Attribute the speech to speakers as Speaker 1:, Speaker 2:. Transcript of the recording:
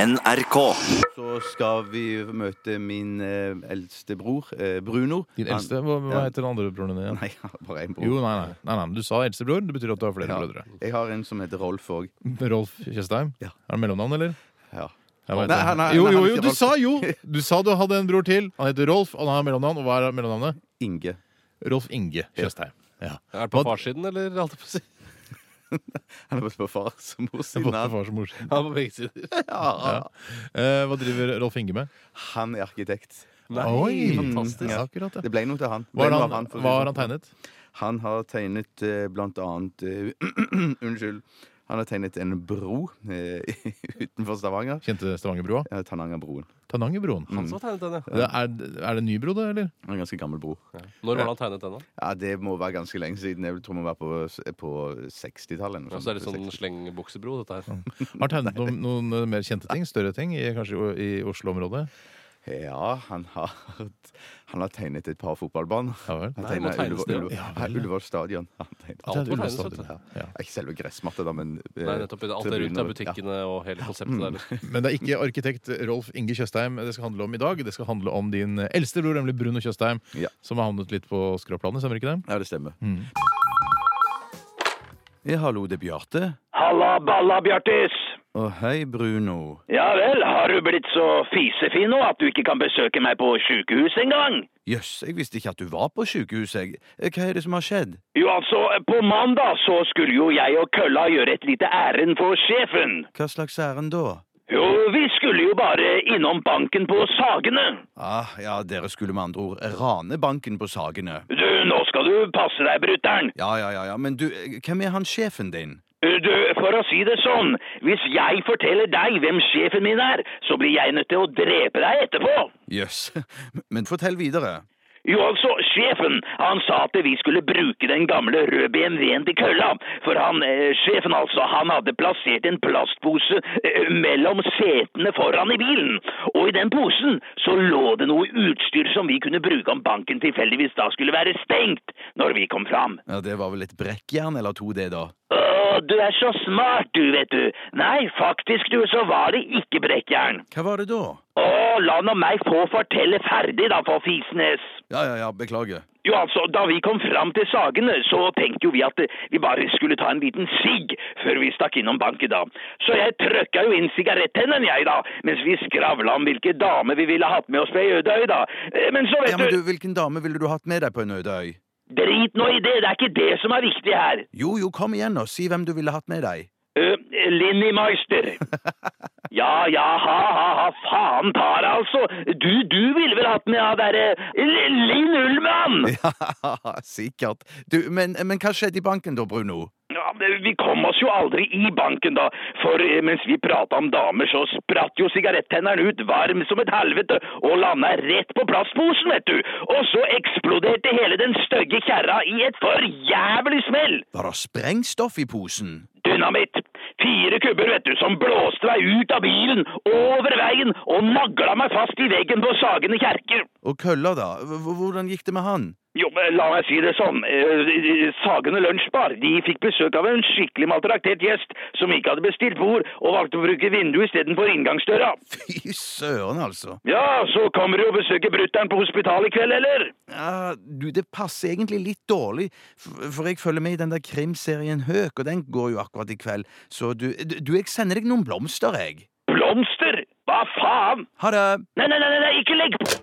Speaker 1: NRK.
Speaker 2: Så skal vi møte min eh, eldste bror, eh, Bruno.
Speaker 3: Din
Speaker 2: Han-
Speaker 3: eldste? Hva, hva
Speaker 2: Ja.
Speaker 3: heter den andre broren din? igjen?
Speaker 2: Nei, jeg har bare én bror.
Speaker 3: Jo, nei, nei, nei, nei, men Du sa eldstebror. Det betyr at du har flere
Speaker 2: Ja.
Speaker 3: brødre.
Speaker 2: Jeg har en som heter Rolf òg.
Speaker 3: Rolf Tjøstheim.
Speaker 2: Ja.
Speaker 3: Er det mellomnavn, eller?
Speaker 2: Ja.
Speaker 3: Jeg vet
Speaker 2: Nei,
Speaker 3: det.
Speaker 2: han er-
Speaker 3: jo,
Speaker 2: nei, han er
Speaker 3: jo, jo,
Speaker 2: ikke
Speaker 3: du
Speaker 2: Rolf.
Speaker 3: sa jo! Du sa du hadde en bror til. Han heter Rolf, og han har mellomnavn. Og hva er mellomnavnet?
Speaker 2: Inge.
Speaker 3: Rolf Inge Tjøstheim. Ja.
Speaker 4: Er det på farssiden, eller? Holdt jeg på å si?
Speaker 2: Han er både på fars og mors
Speaker 3: Både
Speaker 2: side. Han-
Speaker 3: fars og mors.
Speaker 4: Ja, på begge sider.
Speaker 2: Ja.
Speaker 3: Eh, hva driver Rolf Inge med?
Speaker 2: Han er arkitekt.
Speaker 4: Nei, Mm. fantastisk.
Speaker 3: Ja, akkurat,
Speaker 2: Det
Speaker 3: ja.
Speaker 2: ble noe til han. Det ble
Speaker 3: Hva
Speaker 2: noe
Speaker 3: har
Speaker 2: av
Speaker 3: han,
Speaker 2: for å si det
Speaker 3: hva har han
Speaker 2: sånn.
Speaker 3: tegnet?
Speaker 2: Han har tegnet eh, blant annet eh, Unnskyld. Han har tegnet en bro eh, utenfor Stavanger.
Speaker 3: Kjente Stavangerbrua?
Speaker 2: Ja, Tanangerbroen.
Speaker 3: Tanangerbroen.
Speaker 2: Mm.
Speaker 4: Han som har tegnet den, ja.
Speaker 3: Det er, er det en ny bro, da, eller?
Speaker 2: En ganske gammel bro.
Speaker 4: Når var det han tegnet den, da?
Speaker 2: Ja, Det må være ganske lenge siden. Jeg tror vi var på, på 60-tallet. eller noe
Speaker 4: Og så er det
Speaker 2: sånt.
Speaker 4: sånn slengbuksebror, dette her.
Speaker 3: Har tegnet noen, noen eh, mer kjente ting? Større ting? i- Kanskje i- i Oslo-området?
Speaker 2: Ja, han har, han har tegnet et par fotballbaner.
Speaker 3: Ja vel.
Speaker 2: Han
Speaker 4: Nei, må
Speaker 2: tegnet
Speaker 4: tegnes
Speaker 2: Ullevål-
Speaker 4: det, ja.
Speaker 2: Ullevål-
Speaker 3: Ja,
Speaker 2: Nei,
Speaker 3: vel, ja.
Speaker 2: Ullevål stadion. Han tegnet alt.
Speaker 4: Alt må tegnes,
Speaker 3: Ullevål
Speaker 4: vet du.
Speaker 3: stadion, ja.
Speaker 2: Ikke selve gressmatta, da, men eh,
Speaker 4: Nei, nettopp i det. Alt det rundt
Speaker 2: tribuner.
Speaker 4: av butikkene og hele konseptet der. liksom.
Speaker 3: Men det er ikke arkitekt Rolf Inge Tjøstheim det skal handle om i dag. Det skal handle om din eldste bror, nemlig Bruno Tjøstheim,
Speaker 2: Ja.
Speaker 3: som har havnet litt på skråplanet, stemmer ikke det?
Speaker 2: Ja, ja det stemmer.
Speaker 3: Mm.
Speaker 2: Ja, hallo, det er Bjarte.
Speaker 5: Halla balla, Bjartis!
Speaker 2: Å, hei, Bruno.
Speaker 5: Ja vel, har du blitt så fisefin nå at du ikke kan besøke meg på sjukehuset engang?
Speaker 2: Jøss, jeg visste ikke at du var på sykehuset. jeg. Eh, Hva er det som har skjedd?
Speaker 5: Jo, altså, på mandag så skulle jo jeg og kølla gjøre et lite ærend for sjefen.
Speaker 2: Hva slags ærend da?
Speaker 5: Jo, vi skulle jo bare innom banken på Sagene.
Speaker 2: Ah, ja, dere skulle med andre ord rane banken på Sagene.
Speaker 5: Du, nå skal du passe deg, brutter'n.
Speaker 2: Ja, ja, ja, ja, men du, eh, hvem er han sjefen din?
Speaker 5: Du, for å si det sånn, hvis jeg forteller deg hvem sjefen min er, så blir jeg nødt til å drepe deg etterpå.
Speaker 2: Jøss, men fortell videre.
Speaker 5: Jo, altså, sjefen, han sa at vi skulle bruke den gamle røde BMW-en til kølla, for han, eh, sjefen altså, han hadde plassert en plastpose eh, mellom setene foran i bilen, og i den posen så lå det noe utstyr som vi kunne bruke om banken tilfeldigvis da skulle være stengt når vi kom fram.
Speaker 2: Ja, Det var vel et brekkjern eller to, det, da.
Speaker 5: Å, du er så smart, du, vet du. Nei, faktisk, du, så var det ikke brekkjern.
Speaker 2: Hva var det da?
Speaker 5: Å, la nå meg få fortelle ferdig, da, for Fisnes.
Speaker 2: Ja, ja, ja, beklager.
Speaker 5: Jo, altså, da vi kom fram til Sagene, så tenkte jo vi at eh, vi bare skulle ta en liten sigg før vi stakk innom banken, da. Så jeg trøkka jo inn sigarettennene, jeg, da, mens vi skravla om hvilke damer vi ville hatt med oss på ei øde øy, da. Eh, Men så,
Speaker 2: Ja,
Speaker 5: vet
Speaker 2: men
Speaker 5: du,
Speaker 2: du, Hvilken dame ville du hatt med deg på en øde øy?
Speaker 5: drit nå i det, det er ikke det som er viktig her.
Speaker 2: Jo, jo, kom igjen nå, si hvem du ville hatt med deg.
Speaker 5: Uh, Linni Meister. Ja, ja, ha, ha, ha, faen ta deg, altså. Du, du ville vel hatt med av derre Linn Ullmann?
Speaker 2: Ja, sikkert. Du, men, men hva skjedde i banken da, Bruno?
Speaker 5: Ja, men Vi kom oss jo aldri i banken, da. For eh, mens vi prata om damer, så spratt jo sigarettenneren ut varm som et helvete og landa rett på plastposen, vet du. Og så eksploderte hele den stygge kjerra i et forjævlig smell!
Speaker 2: Var det sprengstoff i posen?
Speaker 5: Dynamitt! Fire kubber, vet du, som blåste meg ut av bilen, over veien og nagla meg fast i veggen på Sagene kjerke.
Speaker 2: Og kølla, da? H- h- Hvordan gikk det med han?
Speaker 5: Jo, men la meg si det sånn. Eh, Sagene Lunsjbar de fikk besøk av en skikkelig maltraktert gjest som ikke hadde bestilt bord, og valgte å bruke vinduet istedenfor inngangsdøra.
Speaker 2: Fy søren, altså.
Speaker 5: Ja, så kommer du og besøker brutter'n på hospitalet i kveld, eller?
Speaker 2: Ja, du, det passer egentlig litt dårlig, f- for jeg følger med i den der krimserien Høk, og den går jo akkurat i kveld, så du, du, du, jeg sender deg noen blomster, jeg.
Speaker 5: Blomster? Hva faen?
Speaker 2: Ha det!
Speaker 5: Nei, nei, nei, nei, ikke legg på!